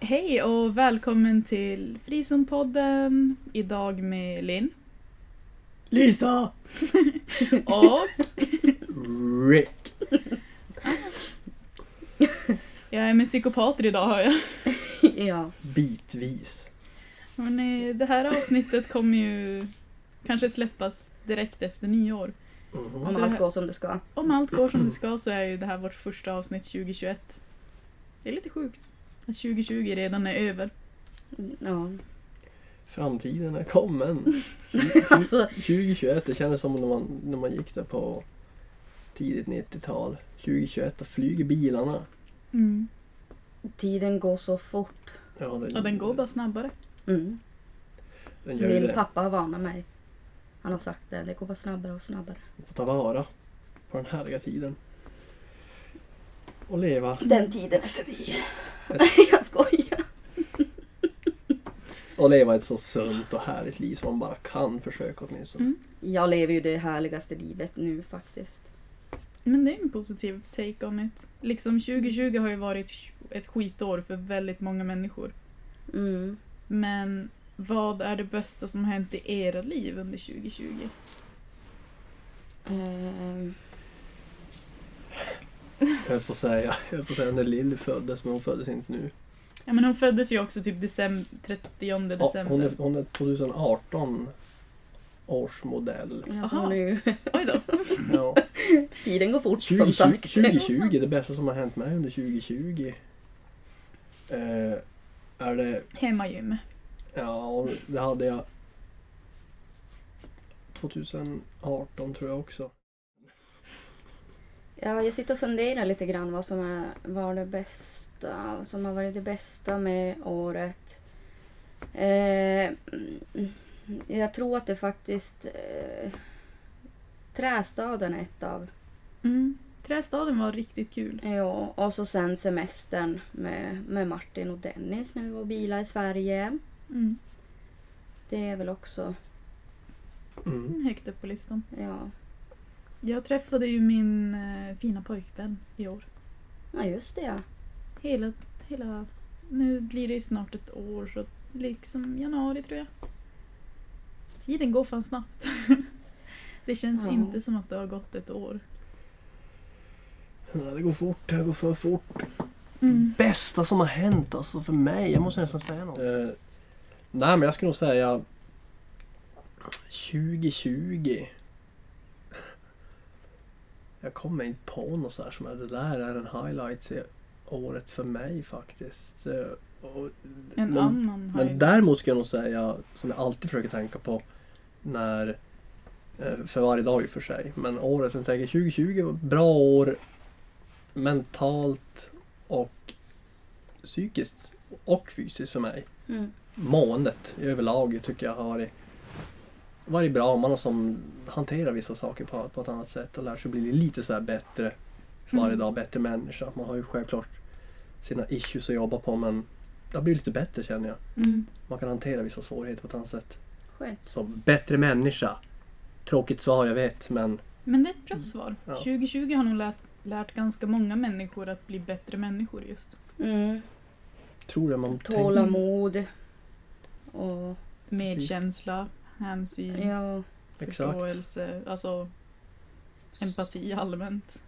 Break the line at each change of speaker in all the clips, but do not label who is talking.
Hej och välkommen till Frizonpodden. Idag med Linn
Lisa!
och
Rick!
jag är med psykopater idag hör jag.
ja.
Bitvis.
Hörrni, eh, det här avsnittet kommer ju kanske släppas direkt efter nyår.
Mhm.
Om
Alltså, det här-
allt går som det ska.
Om allt går som det ska så är ju det här vårt första avsnitt 2021. Det är lite sjukt att 2020 redan är över.
Ja.
Framtiden är kommen.
Alltså,
2021, det kändes som när man, när man gick där på tidigt 90-tal. 2021, då flyger bilarna.
Mm.
tiden går så fort.
Ja, den,
Ja, den går bara snabbare.
Mm.
Den gör ju
Min
det.
pappa har varnat mig. Han har sagt det, det går bara snabbare och snabbare.
Man får ta vara på den härliga tiden. Och leva.
Den tiden är förbi. jag skojar.
Och leva ett så sunt och härligt liv som man bara kan försöka åtminstone.
Mm.
Jag lever ju det härligaste livet nu faktiskt.
Men det är en positiv take on it. Liksom 2020 har ju varit ett skitår för väldigt många människor.
Mm.
Men vad är det bästa som hänt i era liv under 2020?
Ehm,
Jag höll på att säga, jag höll på att säga när Lill föddes, men hon föddes inte nu.
Ja men hon föddes ju också typ december, 30
Ja,
december.
hon, är, hon är 2018 års modell.
alltså
Aha.
nu,
Oj då.
Ja.
tiden går fort som
2020,
sagt.
2020, det bästa som har hänt mig under 2020. Eh, är det,
Hemmagym.
ja det hade jag 2018 tror jag också.
Ja, jag sitter och funderar lite grann vad som är, var det bästa, som har varit det bästa med året. Eh, mm, jag tror att det faktiskt... Eh, trästaden är ett av.
Mm. Trästaden var riktigt kul.
Ja, och så sen semestern med, med Martin och Dennis när vi var och bilade i Sverige.
Mm.
Det är väl också...
Mm.
Högt upp på listan.
Ja,
Jag träffade ju min eh, fina pojkvän i år.
ja just det ja.
Hela, hela... Nu blir det ju snart ett år så liksom januari tror jag. Tiden går fan snabbt. det känns
Ja.
inte som att det har gått ett år.
Nej, det går fort, det går för fort.
Mm.
Bästa som har hänt alltså för mig, jag måste nästan säga något. Eh, nej men jag skulle nog säga 2020. Jag kommer inte på något så här som är det där är en highlight i året för mig faktiskt. Eh, och,
En
men-
annan har ju-
men däremot ska jag nog säga, som jag alltid försöker tänka på, när eh, för varje dag i och för sig, men året som jag tänker 2020 var ett bra år mentalt och psykiskt och fysiskt för mig.
Mm.
Måendet överlag tycker jag har varit, varit bra. Man har som hanterar vissa saker på, på ett annat sätt och lär sig bli lite så här bättre för varje
Mm.
dag, bättre människa. Man har ju självklart sina issues att jobba på men det har blivit lite bättre känner jag.
Mm.
Man kan hantera vissa svårigheter på ett annat sätt.
Skönt.
Så bättre människa. Tråkigt svar, jag vet, men
Men det är ett bra svar.
Ja.
2020 har nog lärt, lärt ganska många människor att bli bättre människor just.
Mm.
tror jag man tänker.
Tålamod. Och...
Medkänsla, hänsyn,
Ja.
Exakt.
förståelse, alltså empati allmänt.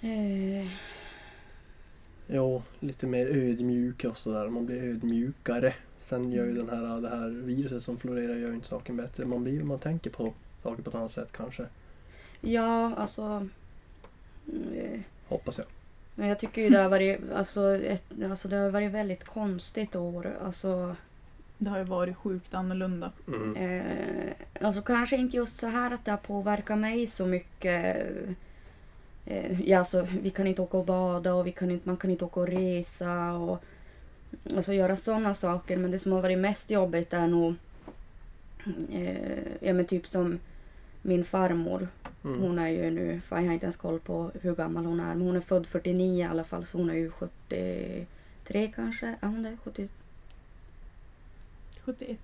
Eh,
Jo, lite mer ödmjuk och sådär. Man blir ödmjukare. Sen gör ju den här, det här viruset som florerar gör ju inte saken bättre. Man, blir, man tänker på saker på ett annat sätt kanske.
Ja, alltså... eh,
Hoppas jag.
Men jag tycker ju det har varit, alltså, ett, alltså det har varit väldigt konstigt år. Alltså,
Det har ju varit sjukt annorlunda.
Mm.
eh, alltså kanske inte just så här att det har påverkat mig så mycket. Eh, ja, alltså, vi kan inte åka och bada och vi kan inte, man kan inte åka och resa och alltså, göra sådana saker. Men det som har varit mest jobbigt är nog eh, ja, men typ som min farmor
Mm.
Hon är ju nu, fan jag har inte ens koll på hur gammal hon är, men hon är född 49 i alla fall så hon är ju 73 kanske? Är hon det? 70?
71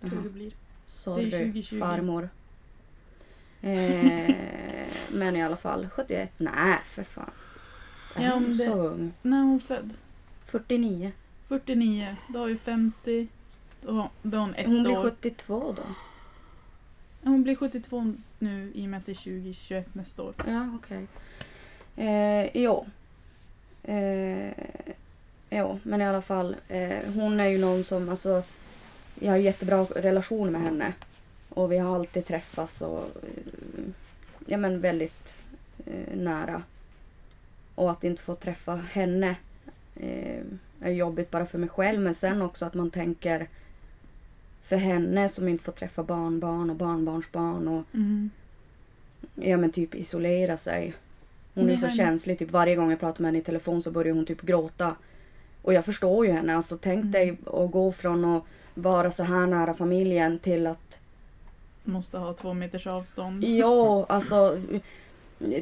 tror
Jaha.
jag det blir.
Sorry
Det är 2020.
farmor. Eh, men i alla fall 71, nej för fan. Är
Ja,
hon
men det-
så ung?
När är hon född?
49.
49, då har vi 50. Då har, då har hon ett
Hon blir
år.
72 då?
Hon blir 72 nu i och med att det är 2021 nästa år.
Ja, okej. Eh, jo. Eh, jo, men i alla fall. Eh, hon är ju någon som, alltså. Jag har jättebra relation med henne. Och vi har alltid träffats och eh, ja, men väldigt eh, nära. Och att inte få träffa henne eh, är jobbigt bara för mig själv men sen också att man tänker för henne som inte får träffa barnbarn och barnbarnsbarn och
Mm.
ja men typ isolera sig. Hon
Det
är så
har jag
känslig, typ varje gång jag pratar med henne i telefon så börjar hon typ gråta. Och jag förstår ju henne, alltså tänk
Mm.
dig att gå från att vara så här nära familjen till att,
Måste ha två meters avstånd.
ja alltså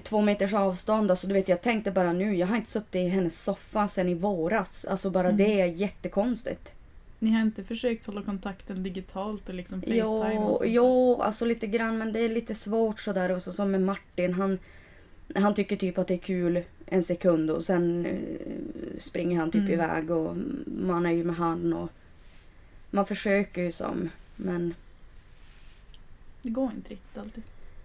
två meters avstånd, alltså du vet jag tänkte bara nu, jag har inte suttit i hennes soffa sedan i våras. Alltså bara
Mm.
det är jättekonstigt.
Ni har inte försökt hålla kontakten digitalt och liksom facetime och
Jo,
sånt där?
jo, alltså lite grann men det är lite svårt sådär. Och så som med Martin, han, han tycker typ att det är kul en sekund och sen eh, springer han typ
Mm.
iväg och man är ju med han och man försöker ju som men
Det går inte riktigt alltid.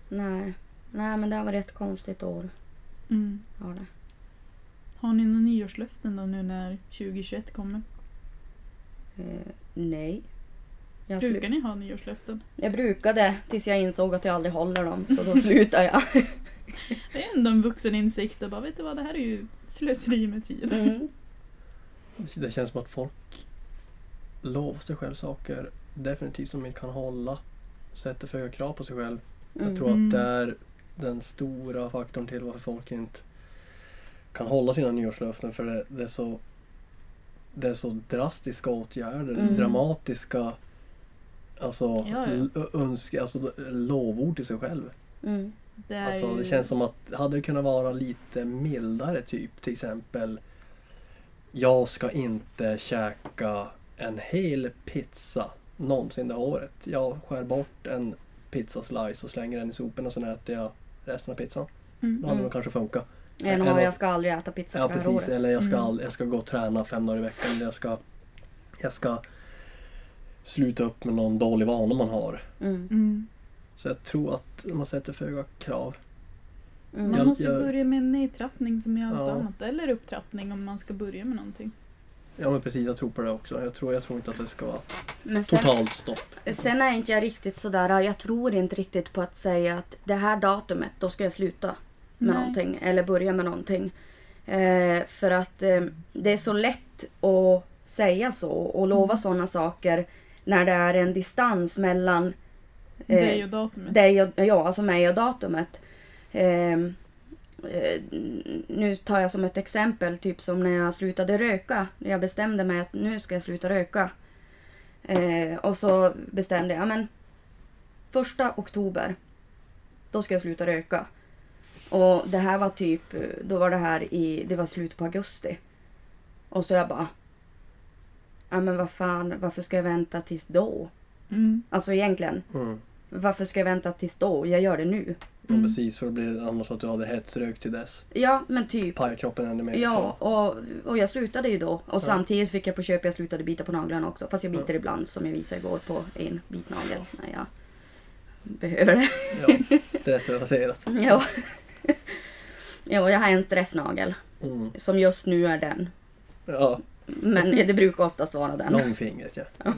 nej. Nej men det har varit ett konstigt år.
Mm.
Har det.
Har ni några nyårslöften då nu när 2021 kommer?
Eh, nej. Jag, slu-
Brukar ni ha nyårslöften?
jag brukade tills jag insåg att jag aldrig håller dem så då slutade jag.
Det är ändå en vuxen insikt och bara vet du vad, det här är ju slöseri med tid.
Mm.
Det känns som att folk lovar sig själv saker definitivt som de inte kan hålla. Sätter för höga krav på sig själv.
Mm.
Jag tror
Mm.
att det är den stora faktorn till varför folk inte kan hålla sina nyårslöften. För det, det, är, så, det är så drastiska åtgärder,
Mm.
dramatiska alltså,
Ja, ja.
l- önske, alltså l- lovord till sig själv.
Mm.
Det, är
Alltså,
ju-
det känns som att hade det kunnat vara lite mildare typ till exempel Jag ska inte käka en hel pizza någonsin det här året. Jag skär bort en pizzaslice och slänger den i soporna och sen äter jag resten av pizzan.
Mm.
Då hade
Mm.
det kanske funkat.
En
En
har
av-
jag ska aldrig äta pizza
Ja
det här
precis,
året.
eller jag ska,
Mm.
all, jag ska gå och träna fem dagar i veckan. Eller jag ska, jag ska sluta upp med någon dålig vana man har.
Mm.
Mm.
Så jag tror att man sätter för höga krav.
Mm.
Man
Jag-
måste
jag-
börja med en nedtrappning som i allt
Ja.
annat. Eller upptrappning om man ska börja med någonting.
Ja men precis, jag tror på det också. Jag tror, jag tror inte att det ska vara
Men sen-
totalt stopp.
Sen är inte jag riktigt sådär, äh, jag tror inte riktigt på att säga att det här datumet, då ska jag sluta med
Nej.
någonting eller börja med någonting. Eh, för att eh, det är så lätt att säga så och lova
Mm.
sådana saker när det är en distans mellan eh,
Det är ju datumet.
dig och, ja, alltså mig och datumet. Ehm, eh, nu tar jag som ett exempel, typ som när jag slutade röka. När Jag bestämde mig att nu ska jag sluta röka. Eh, och så bestämde jag, men första oktober, då ska jag sluta röka. Och det här var typ, då var det här i, det var slutet på augusti. Och så jag bara, ja men vad fan, varför ska jag vänta tills då?
Mm.
Alltså egentligen.
Mm.
Varför ska jag vänta tills då? Jag gör det nu.
Och
Mm.
precis, för då blir det annars att du hade hetsrök till dess.
Ja, men typ.
Pajar kroppen ännu mer.
Ja, och, och jag slutade ju då. Och samtidigt fick jag på köpet, jag slutade bita på naglarna också. Fast jag biter
Ja.
ibland som jag visade igår på en bit nagel när jag behöver det.
Ja, stressrelaterat.
ja. ja, och jag har en stressnagel
Mm.
som just nu är den.
Ja,
Men det brukar oftast vara den.
långfingret ja.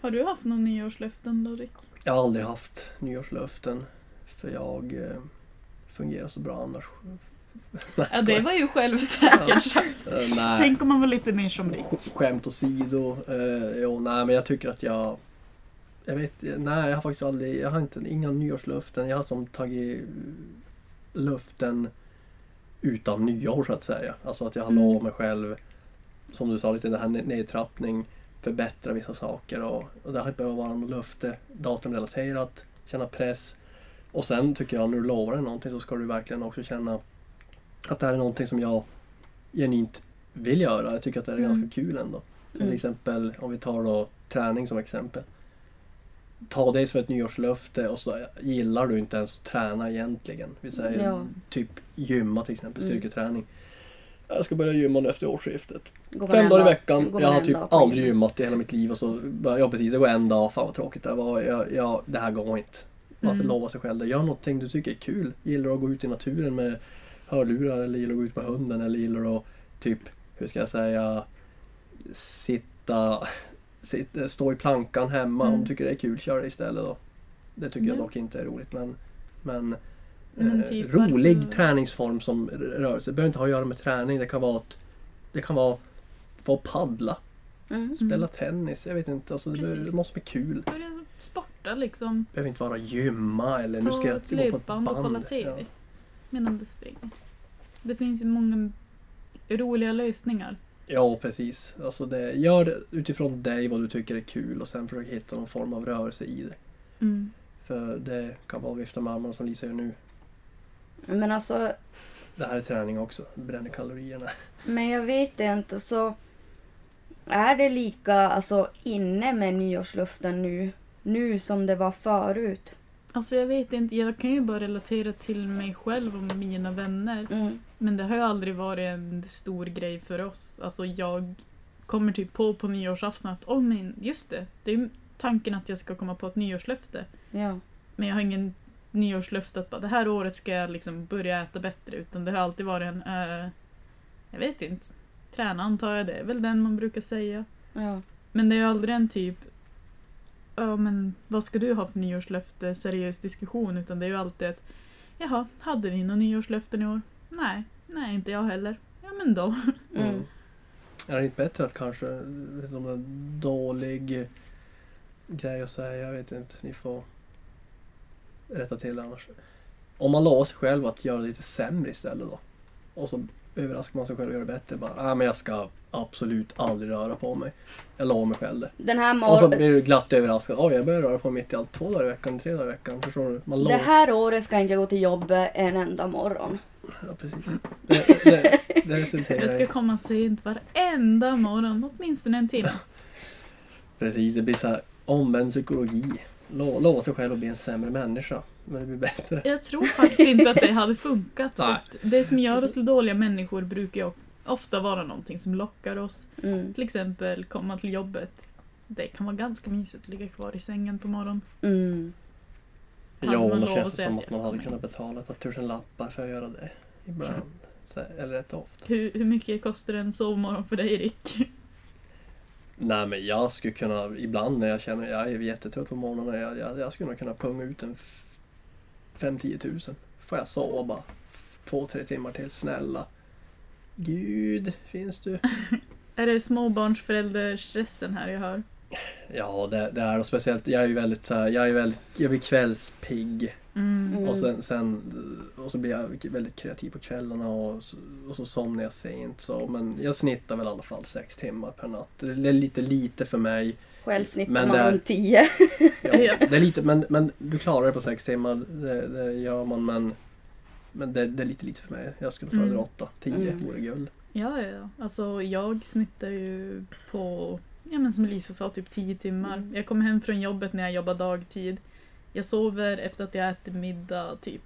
Har du haft några nyårslöften då Rick?
Jag har aldrig haft nyårslöften. För jag eh, fungerar så bra annars. Nej,
Ja, det
skojar.
var ju självsäkert sagt.
Eh, nej.
Tänk om man var lite mer som Rick.
Sk- Skämt åsido. Eh, jo, nej, men jag tycker att jag... Jag vet Nej, jag har faktiskt aldrig... Jag har inte, inga nyårslöften. Jag har som tagit eh, löften utan nyår så att säga. Alltså att jag har
Mm.
lovat mig själv, som du sa, lite det här ne- nedtrappning, förbättra vissa saker och, och det har inte behövt vara något löfte datumrelaterat, känna press. Och sen tycker jag, när du lovar dig någonting så ska du verkligen också känna att det här är någonting som jag genuint vill göra. Jag tycker att det här är
Mm.
ganska kul ändå. Till
Mm.
exempel om vi tar då träning som exempel. Ta det som ett nyårslöfte och så gillar du inte ens att träna egentligen. Vi säger
Ja.
typ gymma till exempel,
Mm.
styrketräning. Jag ska börja gymma nu efter årsskiftet.
Går man
Fem
en
dagar i
dag-
veckan.
går man
Jag har
en
typ
dag på
aldrig
gymmet?
gymmat i hela mitt liv och så börjar jag precis, det går en dag, fan vad tråkigt det var. Jag, jag, det här går inte. Varför
Mm.
lova sig själv det? Gör någonting du tycker är kul. Gillar du att gå ut i naturen med hörlurar eller gillar du att gå ut med hunden eller gillar du att typ, hur ska jag säga, sitta, sitta stå i plankan hemma. Om
Mm.
du tycker det är kul, kör det istället då. Det tycker jag
Ja.
dock inte är roligt men, men
Men
eh,
typ
rolig
varför-
träningsform som r- rörelse. Det behöver inte ha att göra med träning. Det kan vara att, det kan vara få paddla,
Mm.
spela tennis, jag vet inte. Alltså, det, behöver,
Precis.
det måste bli kul. Det
Börja sporta liksom.
behöver inte vara gymma eller nu
Ta
ska jag
ett
gå på ett
löpband
band.
och kolla TV.
Ja.
Medan du springer. Det finns ju många roliga lösningar.
ja, precis. Alltså, det, gör det utifrån dig vad du tycker är kul och sen försök hitta någon form av rörelse i det.
Mm.
För det kan vara att vifta med armarna som Lisa gör nu.
Men alltså,
Det här är träning också. Bränner kalorierna.
men jag vet inte så är det lika alltså inne med nyårsluften nu, nu som det var förut?
Alltså jag vet inte, jag kan ju bara relatera till mig själv och mina vänner.
Mm.
Men det har ju aldrig varit en stor grej för oss. Alltså jag kommer typ på på nyårsafton att åh men just det, det är ju tanken att jag ska komma på ett nyårslöfte.
Ja.
Men jag har ingen nyårslöfte att bara, det här året ska jag liksom börja äta bättre. Utan det har alltid varit en, eh, jag vet inte, träna antar jag det är väl den man brukar säga.
ja.
Men det är ju aldrig en typ, ja men vad ska du ha för nyårslöfte, seriös diskussion. Utan det är ju alltid ett, jaha, hade ni några nyårslöften i år? Nej, nej inte jag heller. Ja men då.
Mm.
Är det inte bättre att kanske, vet du, om det är en dålig grej att säga, jag vet inte, ni får rätta till det annars. Om man lovar sig själv att göra det lite sämre istället då. Och så överraskar man sig själv och gör det bättre. Bara, nej men jag ska absolut aldrig röra på mig. Jag lovar mig själv det.
Den här
Och så
morgonen.
blir du glatt överraskad. Oj, jag börjar röra på mig mitt i allt. Två dagar i veckan, tre dagar i veckan. Förstår du? Man
Det
lovar.
här året ska jag inte gå till jobbet en enda morgon.
Ja, precis. Det, det, det resulterar
Jag
i-
ska komma sent varenda morgon, åtminstone en timme.
Precis, det blir så här omvänd psykologi. Lo- Lova sig själv att bli en sämre människa, men det blir bättre.
Jag tror faktiskt inte att det hade funkat. för
Nej.
att Det som gör oss till dåliga människor brukar ju ofta vara någonting som lockar oss.
Mm.
Till exempel komma till jobbet. Det kan vara ganska mysigt att ligga kvar i sängen på morgonen.
Mm.
Hade
Ja,
man
och då
lov att
känns det
säga
som
att
att man
jag
hade
kommer
kunnat
hit.
betala ett par tusen lappar för att göra det. Ibland. Så här, eller rätt ofta.
Hur, hur mycket kostar en sovmorgon för dig Rick?
Nej, men jag skulle kunna, ibland när jag känner att jag är jättetrött på morgonen, jag, jag, jag skulle nog kunna punga ut en f- fem 10 tusen. Får jag sova bara två, tre timmar till, snälla. Gud, finns du?
Är det småbarnsförälderstressen här jag hör?
Ja, det, det är och speciellt, jag är ju väldigt så här, jag är väldigt, jag blir kvällspigg.
Mm.
Mm.
Och, sen, sen, och så blir jag väldigt kreativ på kvällarna och så, och så somnar jag sent. Så, men jag snittar väl i alla fall sex timmar per natt. Det är lite lite för mig.
Själv snittar
Men
man
där-
runt 10.
Ja, det är lite, men, men du klarar det på sex timmar, det, det gör man. Men, men det, det är lite lite för mig. Jag skulle föredra
Mm.
åtta, tio
Mm.
vore guld.
Ja, ja, ja. Alltså jag snittar ju på, ja men som Lisa sa, typ 10 timmar.
Mm.
Jag kommer hem från jobbet när jag jobbar dagtid. Jag sover efter att jag ätit middag typ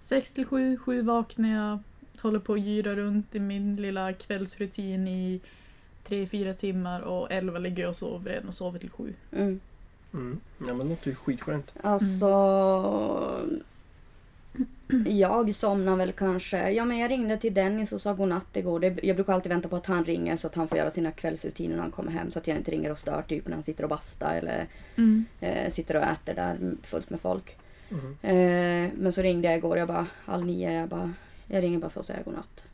6 till 7, 7 vaknar jag, håller på och gyrar runt i min lilla kvällsrutin i 3-4 timmar och 11 ligger jag och sover igen och sover till 7.
Mm.
Mm. Ja, men det låter ju skitskönt.
Alltså... Jag somnar väl kanske. Ja men jag ringde till Dennis och sa godnatt igår. Det, jag brukar alltid vänta på att han ringer så att han får göra sina kvällsrutiner när han kommer hem. Så att jag inte ringer och stör typ när han sitter och bastar eller eh, sitter och äter där fullt med folk.
Mm.
Eh, men så ringde jag igår. Jag bara halv nio. Jag bara... Jag ringer bara för att säga godnatt.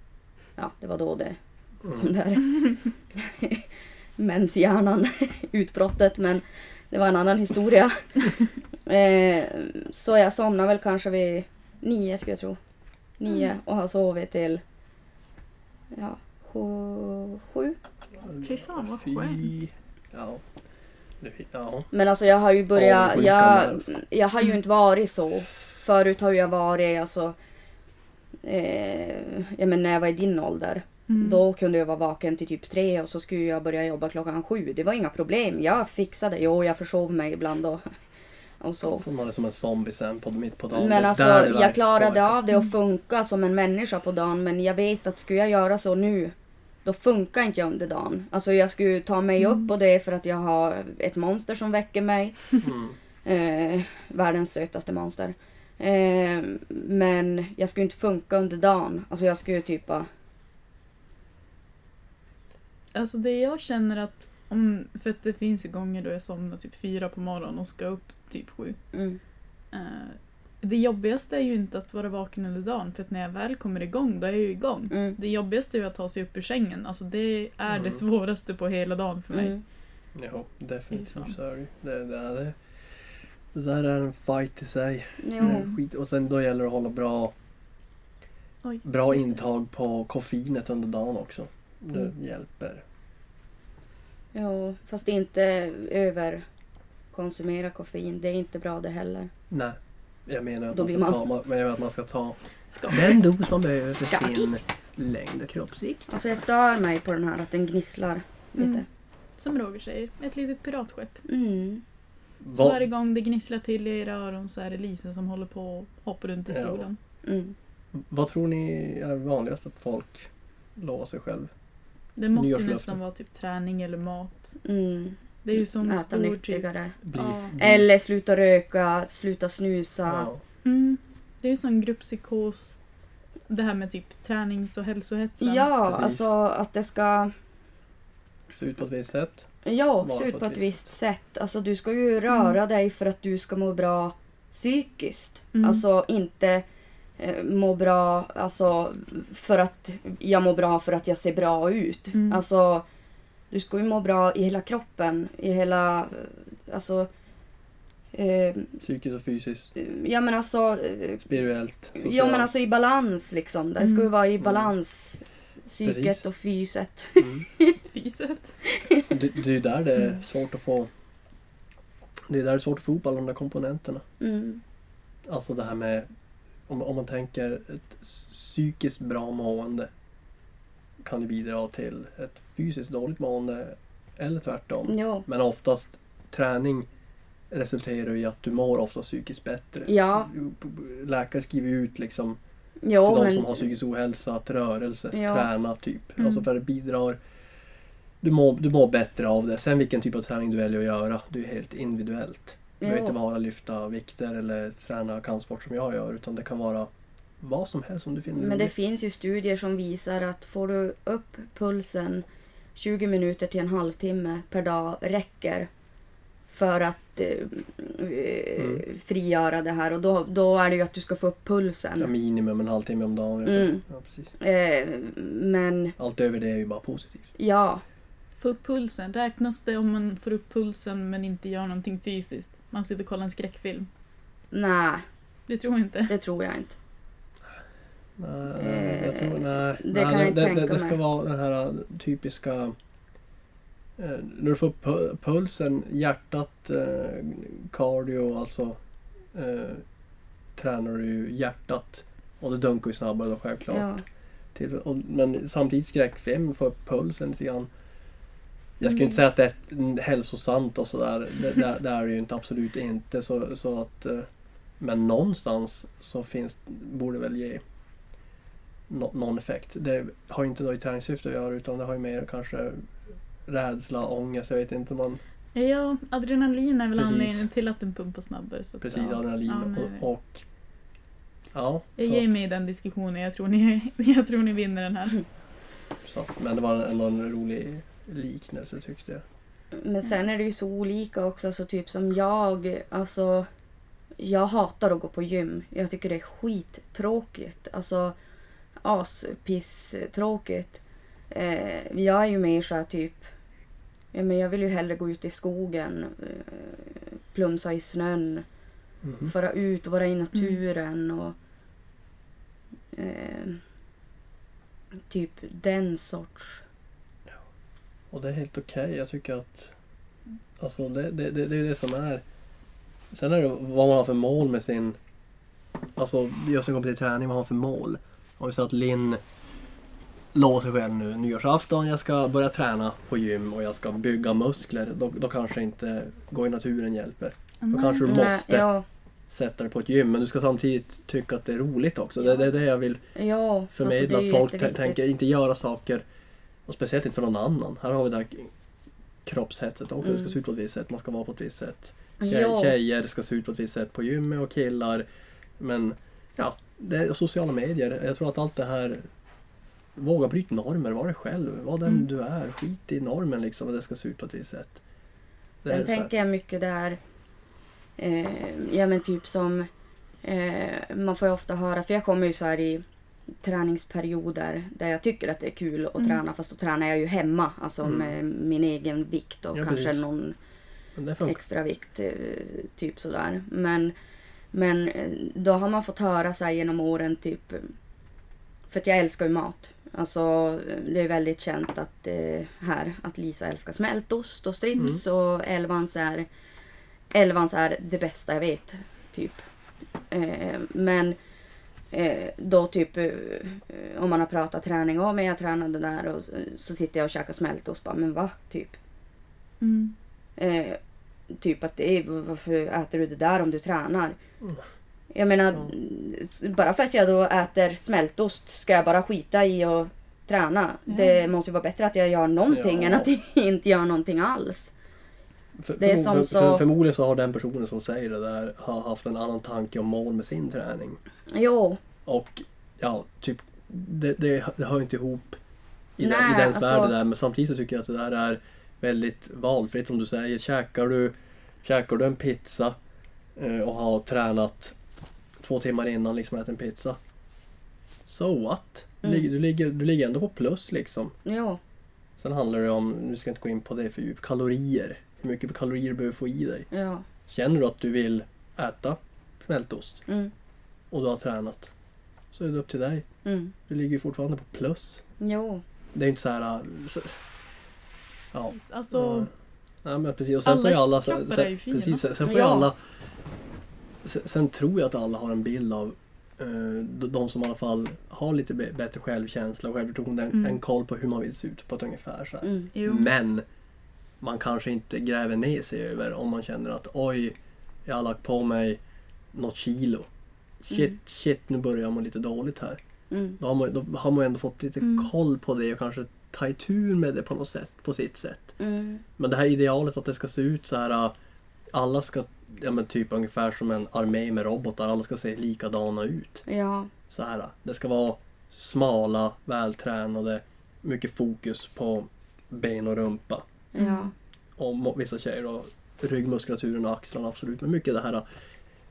Ja, det var då det
Mm.
kom där. Menshjärnan, utbrottet, men det var en annan historia. eh, så jag somnade väl kanske vid nio skulle jag tro. Nio
Mm.
och har sovit till ja, sju, sju. Mm.
Fy fan, vad
Fy.
skönt.
Ja. Nu- ja.
Men alltså jag har ju börjat,
Avundsjukan där,
jag,
alltså.
jag har ju
Mm.
inte varit så. Förut har jag varit alltså eh, ja, men när jag var i din ålder.
Mm.
Då kunde jag vara vaken till typ tre och så skulle jag börja jobba klockan sju. Det var inga problem. Jag fixade. Jo, jag försov mig ibland och och så.
Får man det som en zombie sen på, mitt på dagen. Det
Men
är
alltså
där det verkligen
jag klarade
påverkar.
av det och funka som en människa på dagen men jag vet att skulle jag göra så nu då funkar inte jag under dagen. Alltså jag skulle ta mig
Mm.
upp på det för att jag har ett monster som väcker mig.
Mm.
Eh, världens sötaste monster. Eh, men jag skulle inte funka under dagen. Alltså jag skulle typ bara...
Alltså det jag känner att, om, för att det finns ju gånger då jag somnar typ fyra på morgonen och ska upp typ sju.
Mm,
Eh, det jobbigaste är ju inte att vara vaken under dagen för att när jag väl kommer igång då är jag ju igång.
mm,
Det jobbigaste är ju att ta sig upp ur sängen. Alltså det är
Mm.
det svåraste på hela dagen för mig.
mm.
Jo,
Fy fan.
Liksom.
definitivt så är det ju. det, det, det, det där är en fight i sig.
Jo.
Mm.
Skit. Och sen då gäller det att hålla bra,
Oj,
bra
just det.
intag på koffeinet under dagen också. Det
Mm.
hjälper.
Jo, fast inte överkonsumera koffein. Det är inte bra det heller.
Nej, jag menar att
Då
man
blir
ska, ta, man, men jag menar att man ska ta
Ska-
den dos man behöver för sin
Skakis.
längd och kroppsvikt.
Alltså jag stör mig på den här att den gnisslar lite.
Mm. Som Roger säger, ett litet piratskepp.
Mm.
Så
Vad-
varje gång det gnisslar till i era öron så är det Lisa som håller på och hoppar runt i
Ja.
stolen.
Mm.
Vad tror ni är vanligast att folk lovar sig själv?
Det måste ju
Nyårslöfte.
nästan vara typ träning eller mat.
Mm.
Det är ju som
Äta
stor typ.
nyttigare.
Bli,
Ja.
bli-
Eller sluta röka, sluta snusa.
ja.
Mm. Det är ju sån grupppsykos. Det här med typ tränings och hälsohetsen.
Ja,
Precis.
alltså att det ska
Se ut på ett visst sätt.
ja,
Vara
se ut på ett visst sätt. Alltså du ska ju
Mm.
röra dig för att du ska må bra psykiskt.
Mm.
Alltså inte eh, må bra alltså, för att jag mår bra för att jag ser bra ut.
Mm.
Alltså du ska ju må bra i hela kroppen, i hela... eh, Alltså... Eh,
Psykiskt och fysiskt.
ja men alltså... eh,
Spirituellt. Socialt.
Ja men alltså i balans liksom. Det ska ju
Mm.
vara i
Mm.
balans. Psyket
Precis.
och fyset.
Mm.
Fyset.
Det, det är ju där det är
Mm.
svårt att få... Det är där det är svårt att få ihop alla de där komponenterna.
Mm.
Alltså det här med... Om, om man tänker ett psykiskt bra mående kan ju bidra till ett fysiskt dåligt mående eller tvärtom.
Ja.
Men oftast träning resulterar ju i att du mår ofta psykiskt bättre.
Ja.
Läkare skriver ju ut liksom
Jo,
till de
men...
som har psykisk ohälsa att rörelse,
Ja.
träna typ.
Mm.
Alltså för det bidrar. Du mår, du mår bättre av det. Sen vilken typ av träning du väljer att göra, det är helt individuellt. Det behöver
Jo.
inte bara lyfta vikter eller träna kampsport som jag gör utan det kan vara vad som helst som du finner
Men det
roligt.
finns ju studier som visar att får du upp pulsen 20 minuter till en halvtimme per dag räcker för att eh, eh,
Mm.
frigöra det här och då, då är det ju att du ska få upp
ja,
pulsen.
minimum en halvtimme om dagen. ungefär.
Mm.
Ja, precis.
Eh, men
Allt över det är ju bara positivt.
ja,
Få upp pulsen. Räknas det om man får upp pulsen men inte gör någonting fysiskt? Man sitter och kollar en skräckfilm.
nej,
Det tror jag inte.
det tror jag inte.
Nej, jag tror, nej.
Eh, det
nej,
kan jag inte
det, det,
tänka
det ska
mig.
vara den här äh, typiska... eh, När du får upp pu- pulsen, hjärtat, eh, cardio, alltså eh, tränar du ju hjärtat. Och det dunkar ju snabbare då självklart.
Ja.
Till, och, men samtidigt skräckfilm får upp pulsen lite grann. Jag skulle
Mm.
inte säga att det är ett- hälsosamt och sådär. Det, det, det är det ju inte, absolut inte. Så, så att, eh, men någonstans så finns, borde det väl ge nå- någon effekt. Det har ju inte då i träningssyfte att göra utan det har ju mer kanske rädsla, ångest. Jag vet inte. Man,
Ja, adrenalin är väl
Precis.
anledningen till att den pumpar snabbare. Så att,
precis
ja.
adrenalin
Ja, nej, nej.
och, och... Ja,
Jag
så
ger
att-
mig i den diskussionen. Jag tror ni, jag tror ni vinner den här.
så att- men det var ändå en rolig liknelse tyckte jag.
Men
Mm.
sen är det ju så olika också, så typ som jag, alltså jag hatar att gå på gym. Jag tycker det är skittråkigt. Alltså aspisstråkigt. Eh, jag är ju mer såhär typ, ja, men jag vill ju hellre gå ut i skogen, eh, plumsa i snön,
Mhm.
fara ut och vara i naturen och eh, typ den sorts.
Och det är helt okej. Jag tycker att alltså det, det, det, det är det som är. Sen är det vad man har för mål med sin... Alltså just när det kommer till träning, vad man har för mål. Om vi säger att Linn lovar sig själv nu nyårsafton, jag ska börja träna på gym och jag ska bygga muskler. Då, då kanske inte gå i naturen hjälper.
Mm.
Då kanske du
Nej,
måste
Ja,
sätta dig på ett gym men du ska samtidigt tycka att det är roligt också. Det, det är det jag vill
ja. alltså,
förmedla. att folk t-
jätteviktigt.
tänker inte göra saker och speciellt inte för någon annan. Här har vi det här kroppshetset också. Det ska
Mm.
se ut på ett visst sätt, man ska vara på ett visst sätt. Tjej,
Ja,
Tjejer ska se ut på ett visst sätt på gymmet och killar. Men ja, det är sociala medier. Jag tror att allt det här... Våga bryta normer, var dig själv, var den
Mm.
du är. Skit i normen liksom, och det ska se ut på ett visst sätt. Det är
Sen
så här.
tänker jag mycket där, eh, ja men typ som, eh, man får ju ofta höra, för jag kommer ju så här i träningsperioder där jag tycker att det är kul att
Mm.
träna fast då tränar jag ju hemma, alltså
Mm.
med min egen vikt och
Ja,
kanske
precis.
någon
Men det funkar.
extra vikt, eh, typ sådär. Men, men eh, då har man fått höra så här genom åren typ, eh, för att jag älskar ju mat. Alltså eh, det är väldigt känt att eh, här, att Lisa älskar smältost och strips och Elvans är, Elvans är det bästa jag vet. Typ. Eh, men eh, då typ eh, eh, om man har pratat träning, ja men jag tränade där och så, så sitter jag och käkar smältost bara, men va? Typ.
Mm.
Eh, typ att det är, varför äter du det där om du tränar?
Mm.
Jag menar,
Ja.
s- bara för att jag då äter smältost ska jag bara skita i att träna.
Ja.
Det måste ju vara bättre att jag gör någonting
Ja.
än att jag inte gör någonting alls.
För,
Det är
förmo-
som
för,
så-
för, förmodligen så har den personen som säger det där har haft en annan tanke om mål med sin träning.
Jo,
Och ja, typ det, det, det hör inte ihop i,
Nej,
den, i dens värld
alltså-
det där. Men samtidigt så tycker jag att det där är väldigt valfritt som du säger. Käkar du, käkar du en pizza eh, och har tränat två timmar innan liksom ätit en pizza. So what? Du,
Mm.
ligger, du, ligger, du ligger ändå på plus liksom.
jo.
Sen handlar det om, nu ska jag inte gå in på det för djupt, kalorier. Hur mycket kalorier du behöver få i dig.
Ja.
Känner du att du vill äta smältost
Mm,
och du har tränat så är det upp till dig.
mm,
Du ligger ju fortfarande på plus.
jo.
Det är inte så här... äh, Så, ja.
Alltså,
ja, men precis. Och sen
alla
får ju alla... Sen,
kroppar är ju fina.
precis, sen sen får ju
Ja.
alla... Sen, sen tror jag att alla har en bild av eh, de de som i alla fall har lite b- bättre självkänsla och självförtroende. en-
Mm.
En koll på hur man vill se ut på ett ungefär. Så här.
Mm,
jo.
Men man kanske inte gräver ner sig över om man känner att oj, jag har lagt på mig något kilo. Shit,
Mm.
shit, nu börjar jag må lite dåligt här.
mm,
Då har man, då har man ändå fått lite
Mm.
koll på det och kanske ta itu med det på något sätt, på sitt sätt.
mm,
Men det här idealet att det ska se ut så här, äh, alla ska ja, men typ ungefär som en armé med robotar, alla ska se likadana ut.
ja.
Så här, äh. det ska vara smala, vältränade, mycket fokus på ben och rumpa.
Mm.
Ja.
Och må- vissa tjejer då, ryggmuskulaturen och axlarna absolut, men mycket det här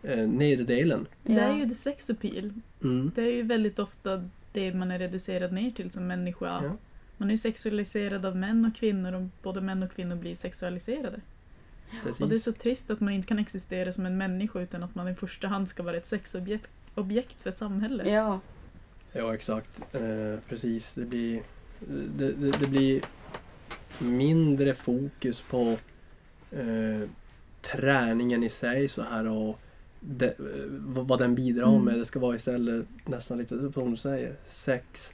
äh, nedre delen.
Det är
Ja.
ju the sex appeal.
Mm.
Det är ju väldigt ofta det man är reducerad ner till som människa.
Ja.
Man är ju sexualiserad av män och kvinnor och både män och kvinnor blir sexualiserade. Och det är
Precis.
så trist att man inte kan existera som en människa utan att man i första hand ska vara ett sexobjekt objekt för samhället.
Ja.
Ja, exakt. Eh, precis. Det blir, det, det, det blir mindre fokus på eh, träningen i sig så här och det, eh, vad vad den bidrar
Mm.
med. Det ska vara istället nästan lite som du säger, sex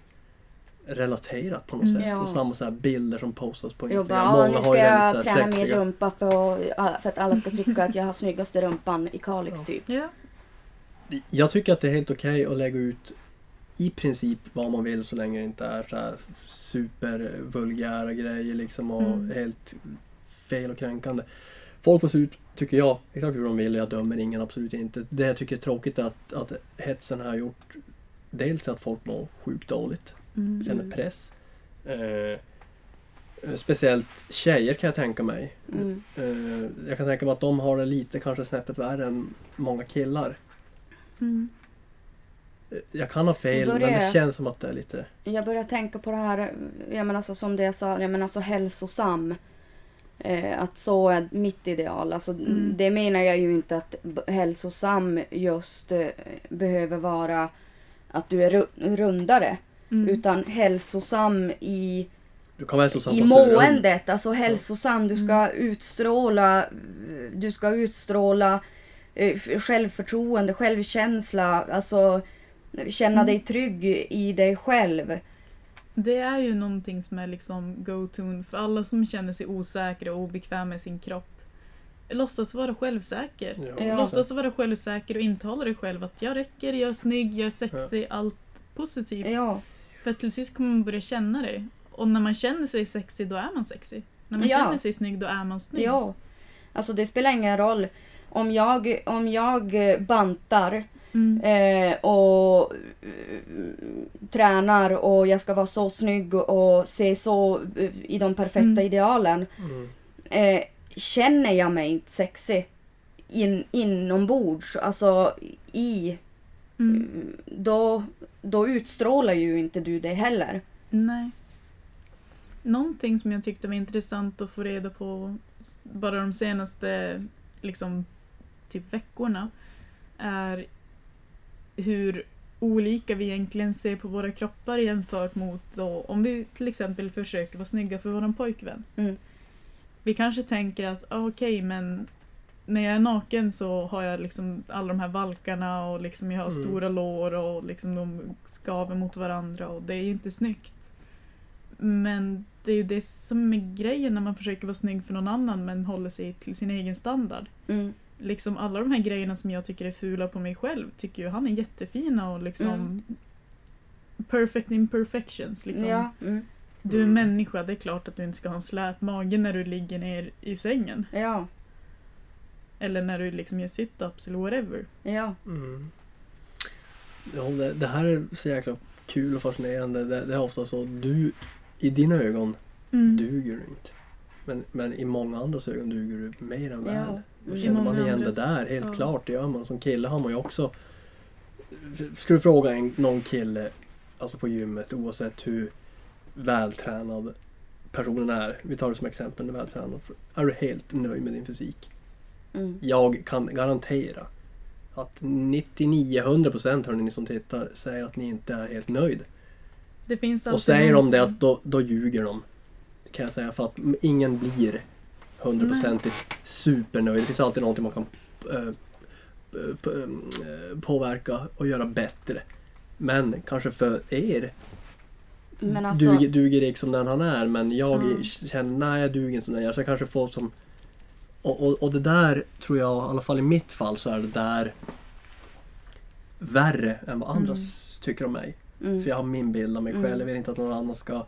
relaterat på något
Mm.
sätt.
Ja.
Och samma så här bilder som postas på
Jag bara,
Instagram.
ja,
Många
nu
har
ska
ju väldigt
jag
så
träna
här
mer
sexiga...
rumpa för att, för att alla ska tycka att jag har snyggaste rumpan i Kalix typ.
Ja.
Jag tycker att det är helt okej att lägga ut i princip vad man vill så länge det inte är så här supervulgära grejer liksom och
Mm.
helt fel och kränkande. Folk får se ut, tycker jag, exakt hur de vill och jag dömer ingen, absolut inte. Det jag tycker är tråkigt är att, att hetsen har gjort dels att folk mår sjukt dåligt,
Mm.
känner press. Eh, speciellt tjejer kan jag tänka mig.
Mm.
Eh, jag kan tänka mig att de har det lite kanske snäppet värre än många killar.
Mm.
Eh, Jag kan ha fel,
Då är
men det
det-
känns som att det är lite...
Jag börjar tänka på det här, jag menar så, som det jag sa, jag menar så hälsosam. Eh, att så är mitt ideal. Alltså,
Mm.
Det menar jag ju inte att b- hälsosam just eh, behöver vara att du är ru- rundare.
Mm.
Utan hälsosam i,
Du kan vara så
i måendet. Alltså hälsosam, du ska
Mm.
utstråla, du ska utstråla eh, f- självförtroende, självkänsla. Alltså känna
Mm.
dig trygg i dig själv.
Det är ju någonting som är liksom go-tune för alla som känner sig osäkra och obekväma i sin kropp. låtsas vara självsäker.
Ja.
Låtsas vara självsäker och intala dig själv att jag räcker, jag är snygg, jag är sexig, allt positivt.
Ja,
För att till sist kommer man börja känna dig. Och när man känner sig sexig, då är man sexig. När man
Ja.
känner sig snygg, då är man snygg.
ja. Alltså det spelar ingen roll. Om jag, om jag eh, bantar
Mm.
eh, och eh, tränar och jag ska vara så snygg och se så eh, i de perfekta
Mm.
idealen.
Mm.
Eh, känner jag mig inte sexig in, inombords, alltså i, Eh,
Mm.
då, då utstrålar ju inte du det heller.
Nej. Någonting som jag tyckte var intressant att få reda på s- bara de senaste liksom, typ veckorna är hur olika vi egentligen ser på våra kroppar jämfört mot då, om vi till exempel försöker vara snygga för vår pojkvän.
Mm.
Vi kanske tänker att ah, okej men när jag är naken så har jag liksom alla de här valkarna och liksom jag har
Mm.
stora lår och liksom de skaver mot varandra och det är ju inte snyggt. Men det är ju det som är grejen när man försöker vara snygg för någon annan men håller sig till sin egen standard
Mm.
liksom alla de här grejerna som jag tycker är fula på mig själv tycker ju han är jättefina och liksom
Mm.
perfect imperfections. Liksom.
Ja, mm.
Du är
Mm.
människa, det är klart att du inte ska ha en slät mage när du ligger ner i sängen.
ja,
Eller när du liksom gör sit-ups eller whatever.
ja.
Mm. Ja, det, det här är så jäkla kul och fascinerande. Det, det är ofta så du, i dina ögon,
Mm.
duger du inte. Men, men i många andras ögon duger du mer än väl.
ja.
Och
I
känner man
många
igen det
andras-
där, helt
ja.
klart, det gör man. Som kille har man ju också... Ska du fråga en, någon kille alltså på gymmet, oavsett hur vältränad personen är. Vi tar det som exempel, en vältränad. Är du helt nöjd med din fysik?
Mm.
Jag kan garantera att 99-100% hörni ni som tittar säger att ni inte är helt nöjd.
Det finns
Och
alltid
säger de
någonting.
det att då, då ljuger de. Kan jag säga för att m- ingen blir 100% supernöjd. Det finns alltid någonting man kan eh, p- p- eh, påverka och göra bättre. Men kanske för er
Men alltså,
duger, duger Erik som den han är men jag
Mm.
känner nej jag duger inte som den jag är. Så jag kanske får som... Och, och, och det där tror jag, i alla fall i mitt fall, så är det där värre än vad andra
Mm.
s- tycker om mig.
mm.
För jag har min bild av mig själv.
Mm.
Jag vill inte att någon annan ska,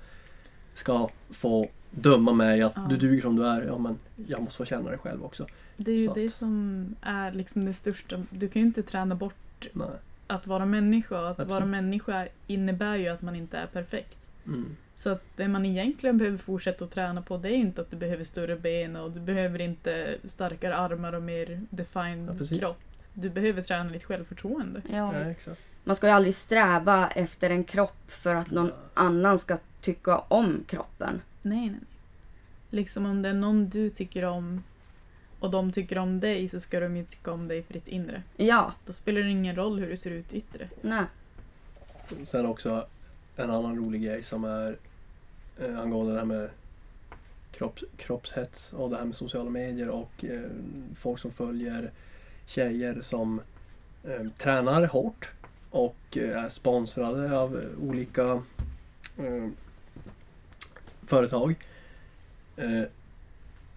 ska få döma mig att
Ja.
du duger som du är. Ja, men jag måste få känna det själv också.
Det är ju
Så att-
det som är liksom det största. Du kan ju inte träna bort
Nej.
att vara människa. Att
Absolut.
vara människa innebär ju att man inte är perfekt.
Mm.
Så att det man egentligen behöver fortsätta att träna på det är inte att du behöver större ben och du behöver inte starkare armar och mer
Ja,
defined
precis.
kropp. Du behöver träna ditt självförtroende.
ja.
Ja, exakt.
Man ska ju aldrig sträva efter en kropp för att någon annan ska tycka om kroppen.
Nej, nej, nej. Liksom om det är någon du tycker om och de tycker om dig så ska de ju tycka om dig för ditt inre.
Ja,
Då spelar det ingen roll hur du ser ut yttre.
nej.
Sen också en annan rolig grej som är eh, angående det här med kropps, kroppshets och det här med sociala medier och eh, folk som följer tjejer som eh, tränar hårt och eh, är sponsrade av eh, olika eh, företag. Eh,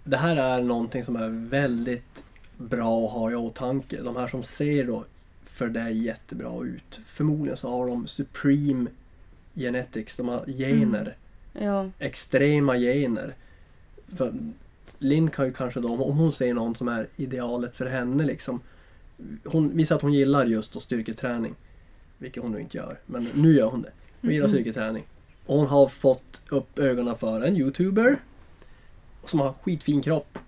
det här är någonting som är väldigt bra att ha i åtanke. De här som ser då för det är jättebra ut. Förmodligen så har de Supreme Genetics, de har gener.
Mm.
Ja,
Extrema gener. För Linn kan ju kanske då, om hon ser någon som är idealet för henne liksom. Hon visar att hon gillar just då styrketräning. Vilket hon nu inte gör, men nu gör hon det. Hon gillar
Mhm.
styrketräning. Och hon har fått upp ögonen för en youtuber som har skitfin kropp.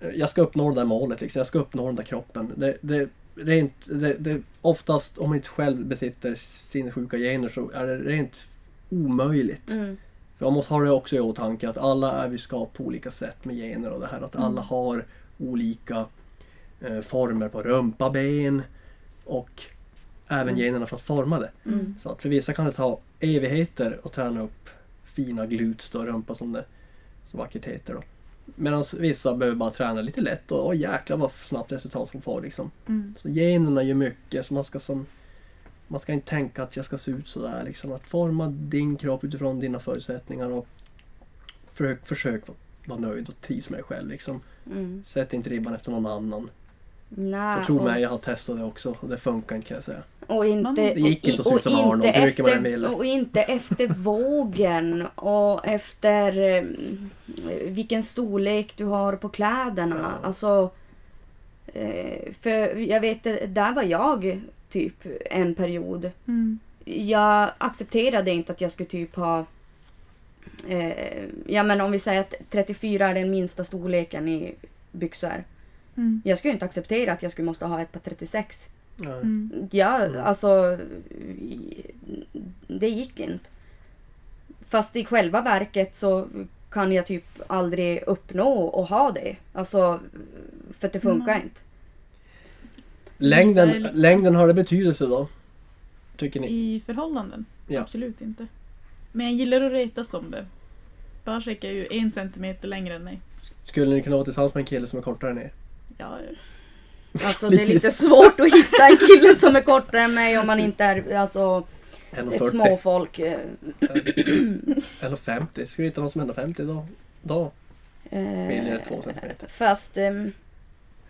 Eh, Jag ska uppnå det där målet, liksom. jag ska uppnå den där kroppen. Det, det, rent, det, det, oftast om man inte själv besitter sinnessjuka gener så är det rent omöjligt.
mm.
För man måste ha det också i åtanke att alla är vi skapade på olika sätt med gener och det här att
Mm.
alla har olika eh, former på rumpa, ben och även
Mm.
generna för att forma det.
Mm.
Så att för vissa kan det ta evigheter att träna upp fina glutes då, rumpa som det så vackert heter då. Medan vissa behöver bara träna lite lätt och, och jäklar vad snabbt resultat de får liksom.
Mm.
Så generna gör mycket så man ska som man ska inte tänka att jag ska se ut sådär liksom. Att forma din kropp utifrån dina förutsättningar och försök, försök vara vara nöjd och trivs med dig själv. Liksom.
Mm.
Sätt inte ribban efter någon annan.
Nej,
För tro
Ah, och-
mig, jag har testat det också och det funkar inte kan jag säga.
Och
Man-
inte,
Det
gick inte att se ut som Arnold, hur mycket man än ville.
och inte efter vågen och efter eh, vilken storlek du har på kläderna.
Ja.
Alltså, eh, för jag vet, där var jag typ en period.
Mm.
Jag accepterade inte att jag skulle typ ha eh, ja men om vi säger att 34 är den minsta storleken i byxor.
Mm.
Jag skulle inte acceptera att jag skulle måste ha ett par 36.
Nej.
Mm.
Ja,
Mm.
alltså... i- Det gick inte. Fast i själva verket så kan jag typ aldrig uppnå och ha det. Alltså, för att det funkar
Nej.
inte.
Vissa är
Längden,
lite-
längden har det betydelse då? Tycker ni?
I förhållanden?
Mm. Ja.
Absolut inte. Men jag gillar att retas om det. Barsek är ju en centimeter längre än mig.
Skulle ni kunna vara tillsammans med en kille som är kortare än er?
Ja, ja.
Alltså det är lite svårt att hitta en kille som är kortare än mig om man inte är alltså, ett
1,40?
småfolk. eh,
1,50? Skulle du hitta någon som är 1,50 då? Då vill jag två centimeter.
Eh, Fast ehm,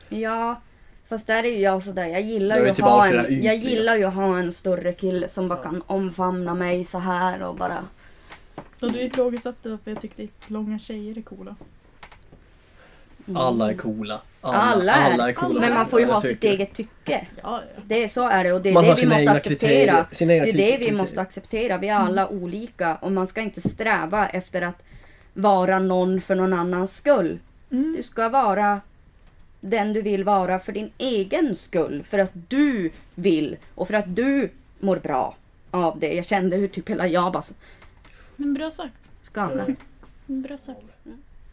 ja, fast där är ju jag sådär. Jag gillar
Jag är
ju att ha
tillbaka till det här
en, jag
ytliga.
gillar ju att ha en större kille som bara
Ja.
kan omfamna mig så här och bara
Så du ifrågasatte varför jag tyckte långa tjejer är coola.
mm.
Alla är coola.
Alla är-
alla är coola.
Men man får ju
Ja,
ha
jag
sitt
tycker.
eget tycke.
Ja, ja.
Det, är- så är det och det är
Man har
det vi
sina
måste
egna
acceptera.
kriterier. Sina egna Mm.
Det är det vi
kriterier.
måste acceptera. Vi är alla olika och man ska inte sträva efter att vara någon för någon annans skull. Du
Mm.
ska vara den du vill vara för din egen skull. För att du vill och för att du mår bra av det. Jag kände hur typ hela jag bara
Men bra sagt.
Mm.
skakade.
Bra sagt.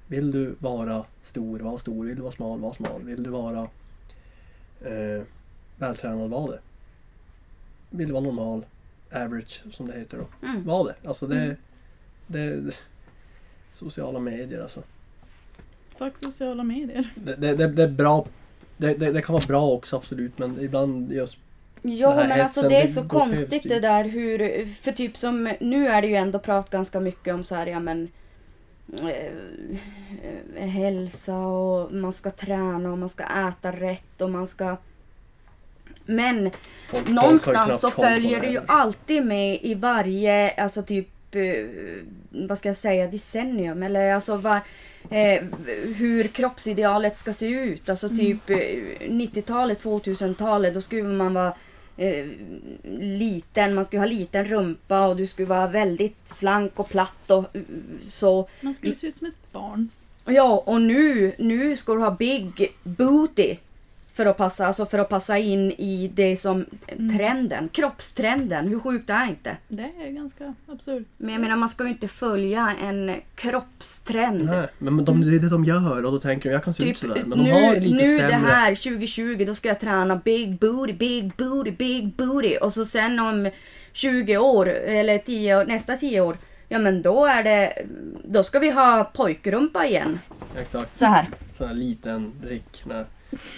Vill du vara stor, var stor. Vill du vara smal, var smal. Vill du vara eh, vältränad, var det. Vill du vara normal, average som det heter då.
Mm.
Var det. Alltså det,
Mm.
det, det Sociala medier alltså.
Fuck sociala medier.
Det, det, det, det är bra. Det, det, det kan vara bra också absolut men ibland just...
Ja
Den här
men alltså
hetsen,
det är
det
så
går
konstigt
överstyr.
det där hur, för typ som nu är det ju ändå prat ganska mycket om så här, ja men eh, eh, hälsa och man ska träna och man ska äta rätt och man ska men
folk- folk har ju
någonstans
knappt koll
så
på
följer
det
det ju
här.
alltid med i varje, alltså typ, eh, vad ska jag säga, decennium eller alltså var, eh, hur kroppsidealet ska se ut. Alltså typ eh, 90-talet, 2000-talet, då skulle man vara eh, liten, man skulle ha liten rumpa och du skulle vara väldigt slank och platt och eh, så.
Man skulle se ut som ett barn.
Ja, och nu, nu ska du ha big booty. För att, passa, alltså för att passa in i det som eh,
Mm.
trenden, kroppstrenden. Hur sjukt är inte?
Det är ganska absurt.
Men jag menar man ska ju inte följa en kroppstrend.
Nej, men de, det är det de gör och då tänker de jag kan se ut
Typ
sådär. Men de har
nu,
det lite
nu
sämre.
det här 2020 då ska jag träna big booty, big booty, big booty. Och så sen om 20 år eller 10, år- nästa 10 år. Ja men då är det, då ska vi ha pojkrumpa igen.
Exakt.
Så här.
Sån här liten prick. Nej,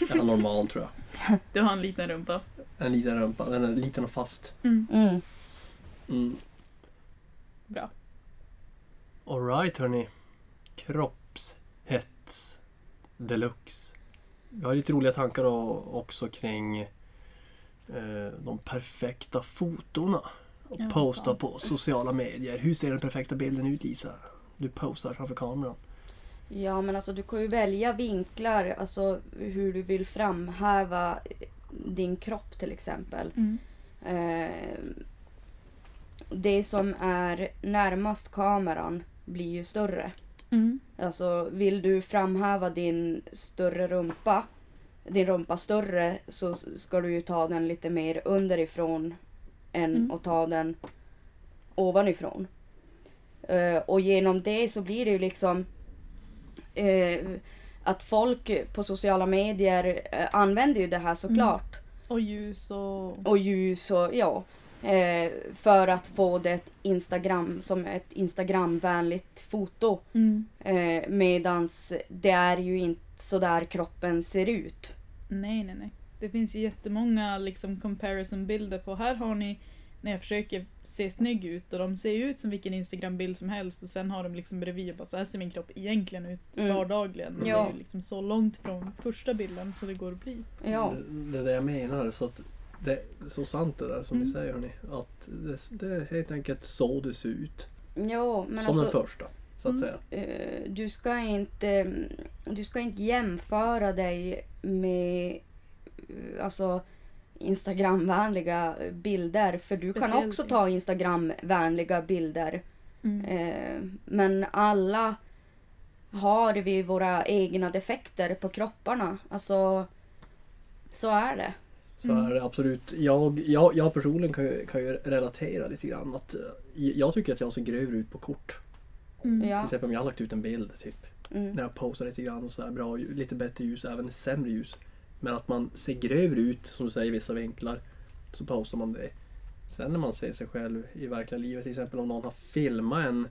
den är normal tror jag.
Du har en liten rumpa.
En liten rumpa. Den är liten och fast.
Mm.
Mm.
Bra.
Alright hörni. Kroppshets deluxe. Vi har lite roliga tankar o- också kring eh, de perfekta fotona. Och
Ja,
posta
fan.
på sociala medier. Hur ser den perfekta bilden ut Lisa? Du posar framför kameran.
Ja, men alltså du kan ju välja vinklar, alltså hur du vill framhäva din kropp till exempel.
Mm.
Eh, det som är närmast kameran blir ju större.
Mm.
Alltså vill du framhäva din större rumpa, din rumpa större, så ska du ju ta den lite mer underifrån än
Mm.
att ta den ovanifrån. Eh, och genom det så blir det ju liksom eh, att folk på sociala medier eh, använder ju det här såklart.
Och ljus och...
Och ljus och ja. Eh, för att få det ett Instagram, som ett Instagramvänligt foto.
Mm.
Eh, medans det är ju inte så där kroppen ser ut.
Nej, nej, nej. Det finns ju jättemånga liksom comparison-bilder på här har ni när jag försöker se snygg ut och de ser ju ut som vilken Instagram-bild som helst och sen har de liksom bredvid och bara så här ser min kropp egentligen ut
Mm.
vardagligen. Och Det
Ja.
är ju liksom så långt från första bilden så det går att bli.
Ja.
Det, det är det jag menar. Så att det är så sant det där som ni
Mm.
säger hörni. Att det, det är helt enkelt så det ser ut.
Ja, men
som den
alltså.
första. Så att
Mm.
säga.
eh, Du ska inte, mm, du ska inte jämföra dig med eh, alltså Instagramvänliga bilder. För du kan
Speciellt
också ta Instagramvänliga bilder. Eh, Men alla har vi våra egna defekter på kropparna. Alltså, så är det.
Så
Mm.
är det absolut. Jag, jag, jag personligen kan ju, kan ju relatera lite grann. Att eh, jag tycker att jag ser grövre ut på kort.
Mm.
Till
Ja.
exempel om jag har lagt ut en bild typ.
Mm.
När jag posar lite grann och så här bra, ljus- lite bättre ljus, även sämre ljus. Men att man ser grövre ut, som du säger, i vissa vinklar. Så postar man det. Sen när man ser sig själv i verkliga livet, till exempel om någon har filmat en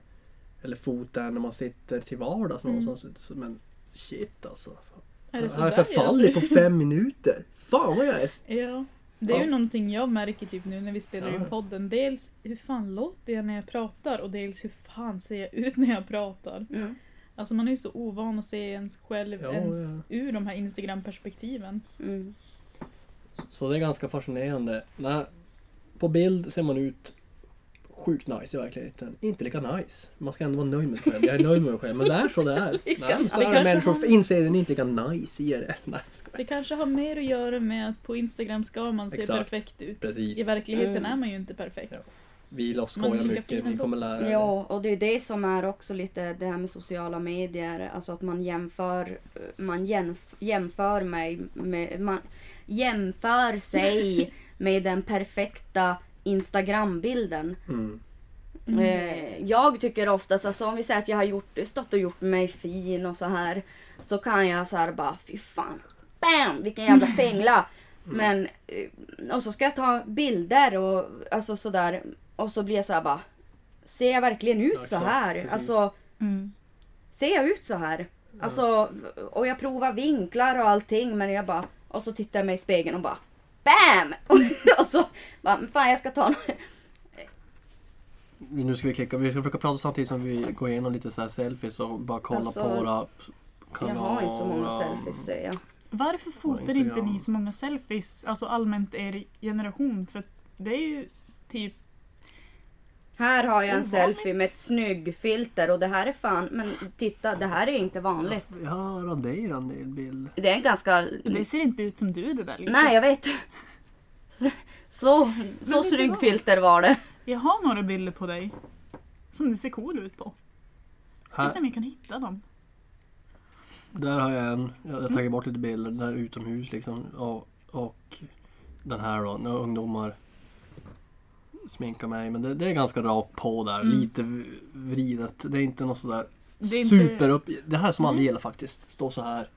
eller fotat en när man sitter till vardags
Mm.
någonstans. Så- Men shit alltså.
Är det alltså?
jag har
sådär
förfallit på
jag ser-
fem minuter. Fan vad jag är
Ja. Det är
Ja.
ju någonting jag märker typ nu när vi spelar
Ja.
in podden. Dels hur fan låter jag när jag pratar och dels hur fan ser jag ut när jag pratar.
Mm.
Alltså man är ju så ovan att se ens själv
Ja,
ens
ja.
ur de här Instagram-perspektiven.
Mm.
Så det är ganska fascinerande. Nej, på bild ser man ut sjukt nice i verkligheten. Inte lika nice. Man ska ändå vara nöjd med sig själv. Jag är nöjd med mig själv. Men det är så det är.
Lika
Nej, men
nice.
så är
Det
det
kanske
människor.
har-
För Insidan är inte lika nice i det. Nej, jag skojar.
Det kanske har mer att göra med att på Instagram ska man se
Exakt.
perfekt ut.
Precis.
I verkligheten
Mm.
är man ju inte perfekt.
Ja. Vi och
Man är
skojar
lika
mycket.
fin
Ni
ändå.
kommer lära er.
Ja, och det är det som är också lite det här med sociala medier. Alltså att man jämför, man jämf- jämför mig med, man jämför sig med den perfekta Instagrambilden.
Mm.
Mm.
Eh, Jag tycker oftast, alltså om vi säger att jag har gjort, stått och gjort mig fin och så här. Så kan jag så här bara, fy fan, bam, vilken jävla fängla.
Mm.
Men, eh, och så ska jag ta bilder och alltså sådär. Och så blir jag så här bara, ser jag verkligen ut så
Exakt,
här?
precis.
Alltså,
Mm.
ser jag ut så här? Alltså, och jag provar vinklar och allting men jag bara, och så tittar jag mig i spegeln och bara, bam! och så bara, "Men fan jag ska ta någon.
Nu ska vi klicka. Vi ska försöka prata samtidigt som vi går igenom lite så här selfies och bara kolla
Alltså,
på våra
Jag har inte så många
våra-
selfies säger jag.
Varför fotar
Instagram.
inte ni så många selfies, alltså allmänt er generation? För att det är ju typ...
Här har jag en
Ovanligt.
selfie med ett snyggfilter och det här är fan, men titta det här är inte vanligt.
Jag har raderat en del bilder.
Det är en ganska...
Mm.
Det ser inte ut som du det där liksom.
Nej jag vet. Så, så, så
vet du
snyggfilter var det.
Jag har några bilder på dig som du ser cool ut på. Ska
Här.
se om jag kan hitta dem.
Där har jag en. Jag har tagit bort lite bilder där utomhus liksom. Och, och den här då. När ungdomar sminkar mig. Men det, det är ganska rakt på där.
Mm.
Lite v- vridet. Det är inte något sådär
Det är inte- Mm.
super upp. Det här som aldrig gäller faktiskt. Stå så här.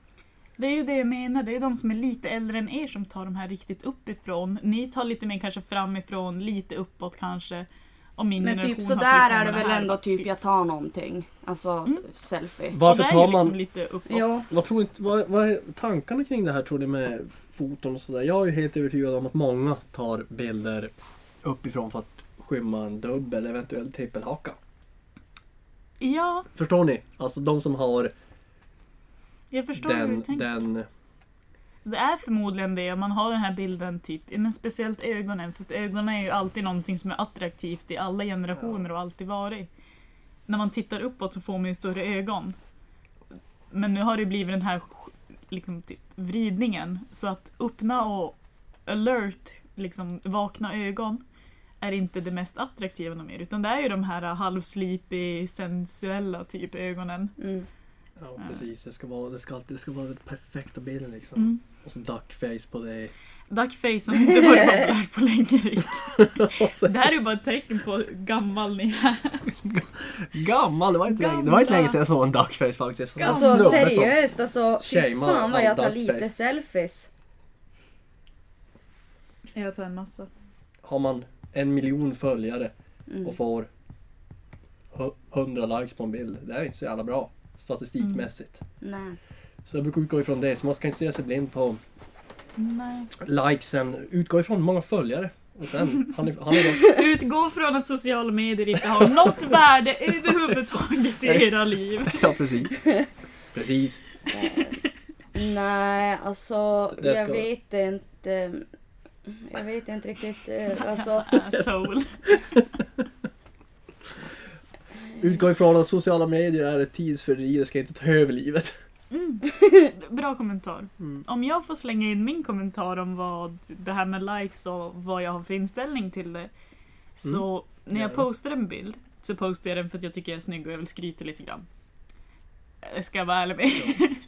Det är ju det jag menar, det är de som är lite äldre än er som tar de här riktigt uppifrån. Ni tar lite mer kanske framifrån, lite uppåt kanske. Och min
Men
generation
typ
har
sådär
tagit
är det
fram
väl
här,
ändå
bara,
typ
shit.
jag tar någonting. Alltså
Mm.
selfie.
Varför
Och det är
tar
ju
man...
Liksom lite uppåt.
Ja.
Vad, tror, ni- vad, vad är tankarna kring det här tror ni med foton och sådär? Jag är ju helt övertygad om att många tar bilder uppifrån för att skymma en dubbel, eventuellt trippelhaka.
ja,
Förstår ni? Alltså de som har
jag förstår hur
den,
du tänker.
den
Det är förmodligen det, man har den här bilden typ, men speciellt ögonen. För att ögonen är ju alltid någonting som är attraktivt i alla generationer och alltid varit. När man tittar uppåt så får man ju större ögon. Men nu har det blivit den här sk- liksom, typ, vridningen. Så att öppna och alert, liksom vakna ögon, är inte det mest attraktiva någon mer. Utan det är ju de här äh, halvslipig, sensuella typ ögonen.
Mm.
Ja precis, det ska vara, det ska alltid, det ska vara den perfekta bilden liksom.
Mm.
Och så duckface på dig.
Duckface som inte varit populär på länge. Rick.
Och så-
Det här är ju bara ett tecken på hur gammal ni är.
Gammal! Det var inte, länge, det var inte
Gamla.
länge sedan jag såg en duckface faktiskt.
Gamla.
En
Alltså
snubbe som-
seriöst alltså. Fy
Shamear
fan vad jag tar
all duckface.
lite selfies.
Jag tar en massa.
Har man en miljon följare
Mm.
och får hu- 100 likes på en bild. Det är inte så jävla bra statistikmässigt.
Mm.
Nej.
Så jag brukar utgå ifrån det. Så man ska inte stirra sig blind på
Nej.
likesen. Utgå ifrån hur många följare Och sen, han, är, han är dock,
Utgå från att sociala medier inte har något värde överhuvudtaget i era liv.
ja, precis. Precis.
Eh, Nej, alltså
Det
jag
ska-
vet inte. Jag vet inte riktigt. eh, Alltså,
Asshole.
Utgå ifrån att sociala medier är ett tidsfördriv, det ska inte ta över livet.
Mm. Bra kommentar.
Mm.
Om jag får slänga in min kommentar om vad det här med likes och vad jag har för inställning till det. Så när jag
Gärna.
postar en bild så postar jag den för att jag tycker jag är snygg och jag vill skryta lite grann. Eh, Ska jag vara ärlig med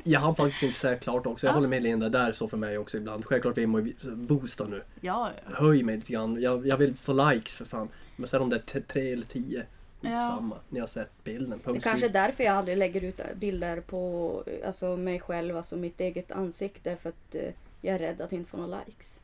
Jag hann faktiskt inte säga klart också. Jag
Ja.
håller med Linda, där så för mig också ibland. Självklart vill man ju boosta nu.
Ja, ja.
Höj mig lite grann. Jag, jag vill få likes för fan. Men sen om det är t- tre eller tio, samma. Ni har sett bilden.
det
punkt
kanske är
slut.
därför jag aldrig lägger ut bilder på alltså, mig själv, alltså mitt eget ansikte. För att eh, jag är rädd att inte få några likes.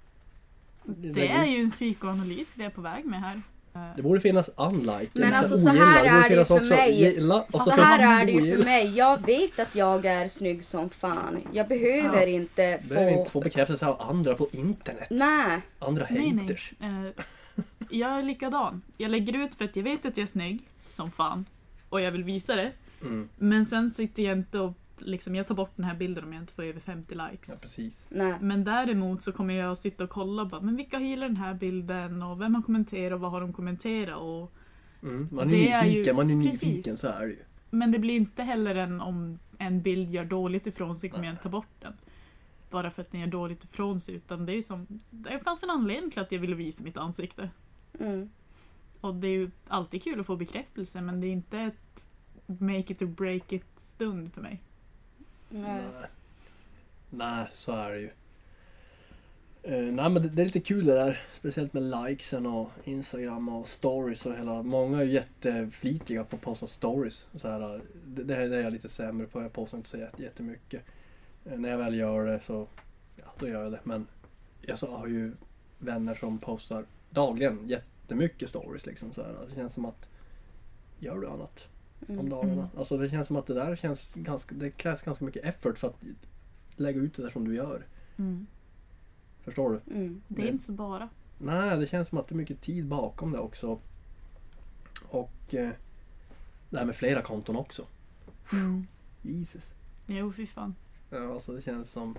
Det är ju en psykoanalys vi är på väg med här. Eh,
Det borde finnas unlike.
Men
eller
alltså,
ogilla.
så här
borde
är det ju
finnas
för
också
mig.
Gilla, och så,
Så,
Fast
kanske
Alltså, här är det ju
ogilla.
för mig. Jag vet att jag är snygg som fan. Jag behöver
Ja.
inte
Det Behöver
få...
inte få bekräftelse av andra på internet.
Nej.
Andra
Nej, nej.
haters.
Eh, jag är likadan. Jag lägger ut för att jag vet att jag är snygg, som fan. Och jag vill visa det.
Mm.
Men sen sitter jag inte och liksom, jag tar bort den här bilden om jag inte får över 50
Ja,
likes.
precis.
Nej.
Men däremot så kommer jag att sitta och kolla och bara, men vilka gillar den här bilden och vem har kommenterat och vad har de kommenterat och...
Mm. Man är
Det är
nyfiken,
ju-
man är
precis.
nyfiken. Så är det ju.
Men det blir inte heller en om en bild gör dåligt ifrån sig kommer
Nej.
jag inte ta bort den. Bara för att den gör dåligt ifrån sig utan det är ju som, det fanns en anledning till att jag ville visa mitt ansikte.
Mm.
Och det är ju alltid kul att få bekräftelse men det är inte ett make it or break it stund för mig.
Nej.
Nej. Nej, så är det ju. Eh, nej men det, det är lite kul det där. Speciellt med likesen och Instagram och stories och hela. Många är ju jätteflitiga på att posta stories. Så här, eh, det, det, här- det är jag lite sämre på. Jag postar inte så jätte- jättemycket. Uh, när jag väl gör det så ja, då gör jag det. Men jag så, har ju vänner som postar dagligen jättemycket stories. Liksom, så här. Det känns som att gör du annat? om
Mm.
dagarna.
Mm.
Alltså det känns som att det där känns ganska, det krävs ganska mycket effort för att lägga ut det där som du gör. Förstår du?
Mm.
Mm. Det är
Nej.
inte så bara.
Nej, det känns som att det är mycket tid bakom det också. Och eh, det här med flera konton också. Jesus.
Mm. Jo, fy fan.
Ja, alltså det känns som...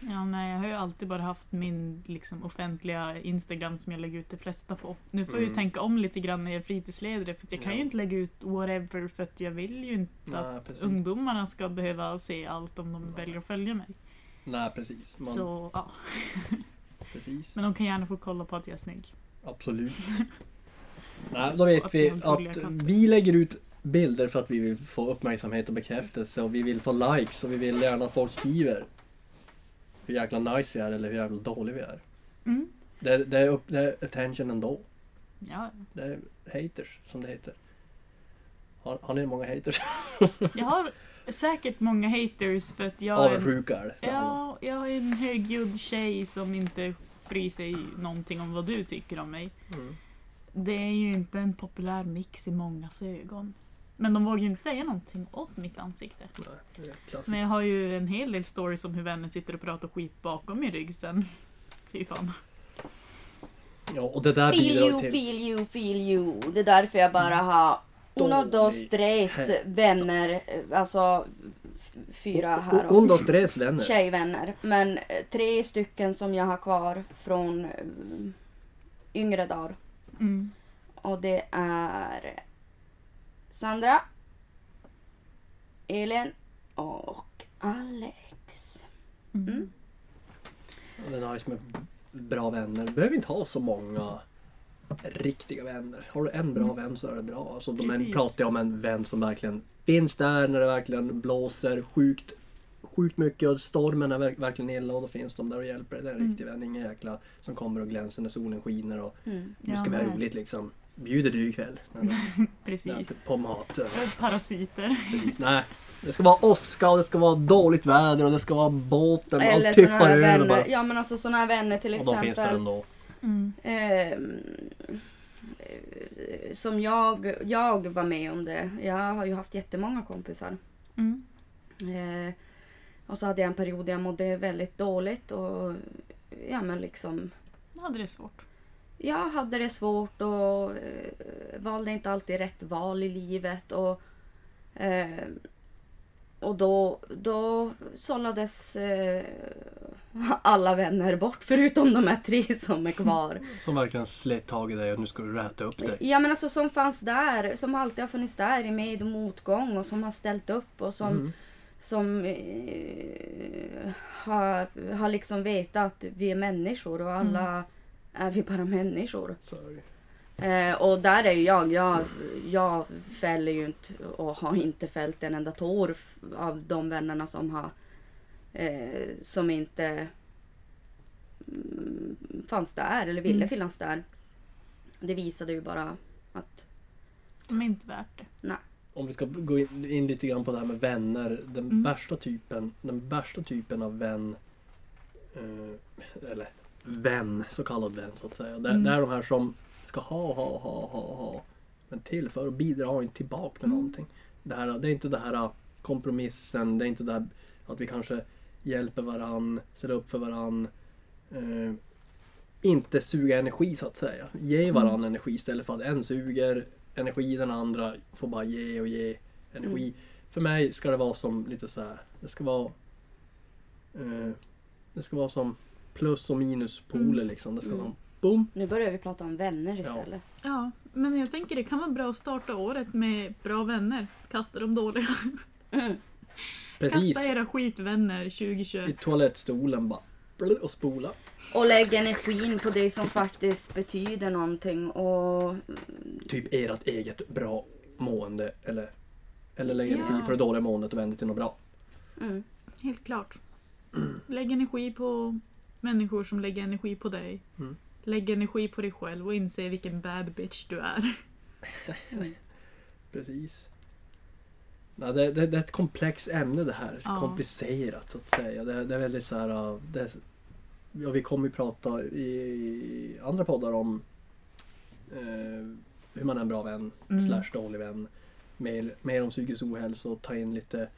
Ja, nej, jag har ju alltid bara haft min liksom, offentliga Instagram som jag lägger ut de flesta på. Nu får jag ju
Mm.
tänka om lite grann när jag är fritidsledare för att jag kan
Ja.
ju inte lägga ut whatever för att jag vill ju inte att
Nej, precis.
ungdomarna ska behöva se allt om de
Nej.
väljer att följa mig.
Nej, precis. Man,
Så, ja.
precis.
Men de kan gärna få kolla på att jag är snygg.
Absolut. Nej, då vet
Att
vi
man följer
att
katten.
vi lägger ut bilder för att vi vill få uppmärksamhet och bekräftelse och vi vill få likes och vi vill gärna att folk skriver hur jäkla nice vi är eller hur jävla dålig vi är.
Mm.
Det är, det är, upp, det är attention ändå.
Ja,
Det är haters som det heter. Har, har ni många haters?
jag har säkert många haters för att jag är en,
Avundsjuka är det.
ja, jag är en högljudd tjej som inte bryr sig någonting om vad du tycker om mig.
Mm.
Det är ju inte en populär mix i mångas ögon. Men de vågar ju inte säga någonting åt mitt ansikte.
Nej, det är klassiskt.
Men jag har ju en hel del stories om hur vänner sitter och pratar skit bakom min rygg sen. Fy fan.
Ja, och det där
Feel
bidrar
you,
till...
feel you, feel you. Det är därför jag bara har uno,
Dålig
dos, tres
hälsa.
vänner. eh, Alltså f- fyra här
Onda
och
och stress vänner.
tjejvänner. Men eh, tre stycken som jag har kvar från eh, yngre dagar.
Mm.
Och det är Sandra, Elin och Alex.
Mm.
Mm.
Och Det är nice med bra vänner. Du behöver inte ha så många riktiga vänner. Har du en bra vän så är det bra. Alltså, de
Precis.
en pratar jag om en vän som verkligen finns där när det verkligen blåser sjukt, sjukt mycket och stormen är verk- verkligen illa och då finns de där och hjälper dig. Det är en
Mm.
riktig vän. Ingen jäkla som kommer och glänser när solen skiner och
Mm.
nu
Ja,
ska vi ha
nej.
roligt liksom. Bjuder du ikväll? Nej, nej,
Precis.
inte På mat. eh,
Jag är Parasiter.
Precis. Nej. Det ska vara åska och det ska vara dåligt väder och det ska vara båten
Eller
och
såna
tippar
här
över
vänner.
bara.
Ja men alltså såna här vänner till
Och de finns där
exempel.
ändå.
Mm.
Ehm, eh, som jag, jag var med om det. Jag har ju haft jättemånga kompisar.
Mm.
Eh, och så hade jag en period där jag mådde väldigt dåligt och ja men liksom
Då hade det svårt.
jag hade det svårt och eh, valde inte alltid rätt val i livet. Och, eh, och då, då sållades eh, alla vänner bort förutom de här tre som är kvar.
Som verkligen slet tag i dig och nu ska du räta upp dig.
Ja men alltså som fanns där, som alltid har funnits där i med och motgång och som har ställt upp och som,
Mm.
som eh, har, har liksom vetat att vi är människor och alla är vi bara människor.
Så är det.
Eh, och där är ju jag, jag, jag fäller ju inte och har inte fällt en enda tår f- av de vännerna som har eh, som inte mm, fanns där eller ville
Mm.
finnas där. Det visade ju bara att
De är inte värt det.
Om vi ska gå in, in lite grann på det här med vänner. Den
Mm.
värsta typen den värsta typen av vän eh, eller vän, så kallad vän så att säga. Det,
Mm.
det är de här som ska ha, ha, ha, ha, ha men tillför och bidrar och inte tillbaka med
Mm.
någonting. Det, här, det är inte det här ah, kompromissen, det är inte det här att vi kanske hjälper varann, ställer upp för varann. Eh, inte suga energi så att säga. Ge varann
Mm.
energi istället för att en suger energi, den andra får bara ge och ge energi.
Mm.
För mig ska det vara som lite så här. Det ska vara eh, Det ska vara som plus och minuspoler
Mm.
liksom. Det ska
Mm.
vara boom.
nu börjar vi prata om vänner istället.
Ja, men jag tänker det kan vara bra att starta året med bra vänner. Kasta de dåliga.
Mm.
Precis.
Kasta era skitvänner
I
2021.
toalettstolen bara blö, och spola.
Och lägg energin på det som faktiskt betyder någonting och
Typ ert eget bra mående eller eller lägg
Ja.
energi på det dåliga måendet och vänd det till något bra.
mm.
Helt klart. Lägg energi på människor som lägger energi på dig.
Mm.
Lägg energi på dig själv och inse vilken bad bitch du är.
Precis. Nej, det, det, det är ett komplext ämne det här.
Ja.
Komplicerat så att säga. Det, det är väldigt så här... äh, Det, ja, vi kommer ju prata i andra poddar om eh, hur man är en bra vän
Mm.
slash dålig vän. Mer, mer om psykisk ohälsa och ta in lite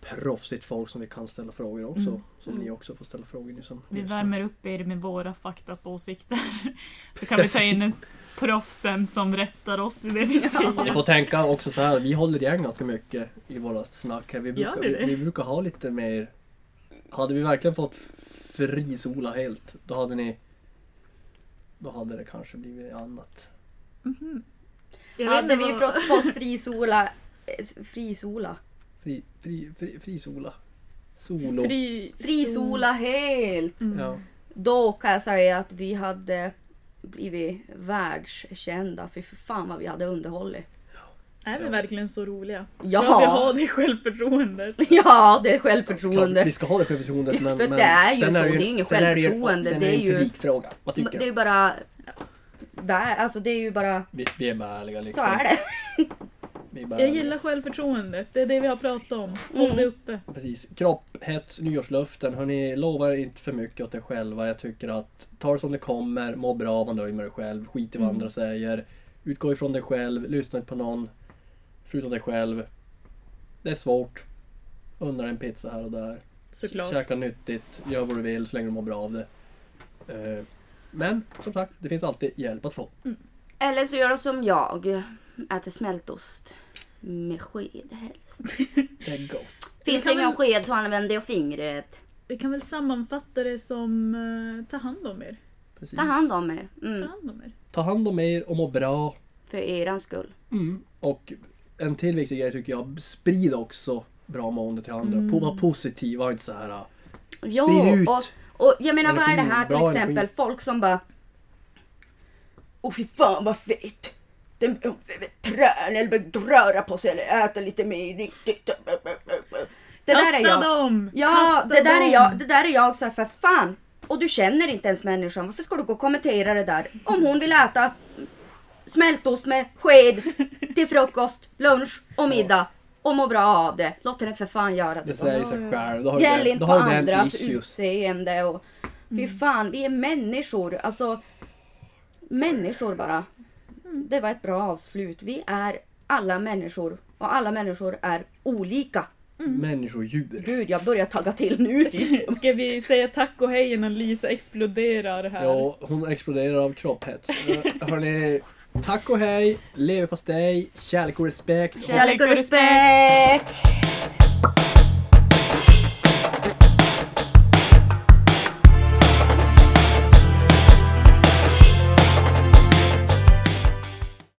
proffsigt folk som vi kan ställa frågor också.
Mm.
Som
Mm.
ni också får ställa frågor ni som
Vi
lyssnar.
värmer upp er med våra fakta på åsikter. Så kan vi ta in en proffsen som rättar oss i det vi
Ni
säger.
får tänka också så här, vi håller igen ganska mycket i våra snack här. Vi brukar,
vi det?
vi, vi brukar ha lite mer... Hade vi verkligen fått frisola helt, då hade ni... Då hade det kanske blivit annat.
Mhm. Jag vet
Hade
inte
vi
vad-
fått, fått frisola, eh, frisola,
Fri, fri, fri, frisola. Solo.
Fri...
frisola helt!
Mm.
Ja.
Då kan jag säga att vi hade blivit världskända. Fy för fan vad vi hade underhållit.
Är vi
Ja.
verkligen så roliga? Ska
Ja.
vi ha det självförtroendet?
Ja, det är
Klart,
självförtroende.
vi ska ha det självförtroendet men...
För
men
det är ju
sen
så,
är
det är ju inget
sen ju-
självförtroende,
Sen
det
är
är
det ju
ju-
en publikfråga. Vad
Men
tycker
Det är
du?
ju bara... Där, alltså det är ju bara...
Vi, vi är bara ärliga
Så
liksom.
är det.
Vi är bara
Jag
ärliga.
gillar självförtroendet, det är det vi har pratat om. Håll
Mm.
det uppe.
Precis. Kropp, hets, nyårslöften. Hörni, lova er inte för mycket åt er själva. Jag tycker att ta det som det kommer, må bra, var nöjd med dig själv, skit i vad
Mm.
andra säger. Utgå ifrån dig själv, lyssna inte på någon. Förutom dig själv. Det är svårt. Undra en pizza här och där.
Såklart.
Käka nyttigt, gör vad du vill så länge du mår bra av det. Eh, Men som sagt, det finns alltid hjälp att få.
Eller så gör de som jag. Äter smältost. Med sked helst.
Det är gott.
Finns
kan
det ingen
väl-
sked så använder jag fingret.
Vi kan väl sammanfatta det som eh, ta hand om er.
Precis.
Ta hand om er. Mm.
Ta hand om er.
Ta hand om er och må bra.
För eran skull.
Mm. Och en till viktig grej tycker jag, sprid också bra mående till andra.
Mm.
Po- Var positiv, var inte så här. ah,
Jo,
Sprid ut.
och, och jag menar vad är det
Energi,
här till
bra
exempel?
energi.
Folk som bara... Åh fy fan vad fett! Den behöver träna eller behöver röra på sig eller äta lite mer riktigt. Det där
Kasta
är jag.
dem!
Ja,
Kasta
det där är
dem!
jag. Det där är jag så här, för fan. Och du känner inte ens människan. Varför ska du gå och kommentera det där? Om hon vill äta smältost med sked till frukost, lunch och middag och må bra av det. Låt henne för fan göra
Det
det.
säger sig
ja.
själv. Då har ju
Gnäll
den,
inte
då
på
har ju den
andras
issues.
utseende och fy
Mm.
fan, vi är människor. Alltså, människor bara.
Mm.
Det var ett bra avslut. Vi är alla människor och alla människor är olika.
människor och djur.
Gud, jag börjar tagga till nu. typ.
Ska vi säga tack och hej innan Lisa exploderar här?
Ja, hon exploderar av kropphets. Eh, Hörni, tack och hej, leverpastej, kärlek och respekt.
Kärlek och
respekt!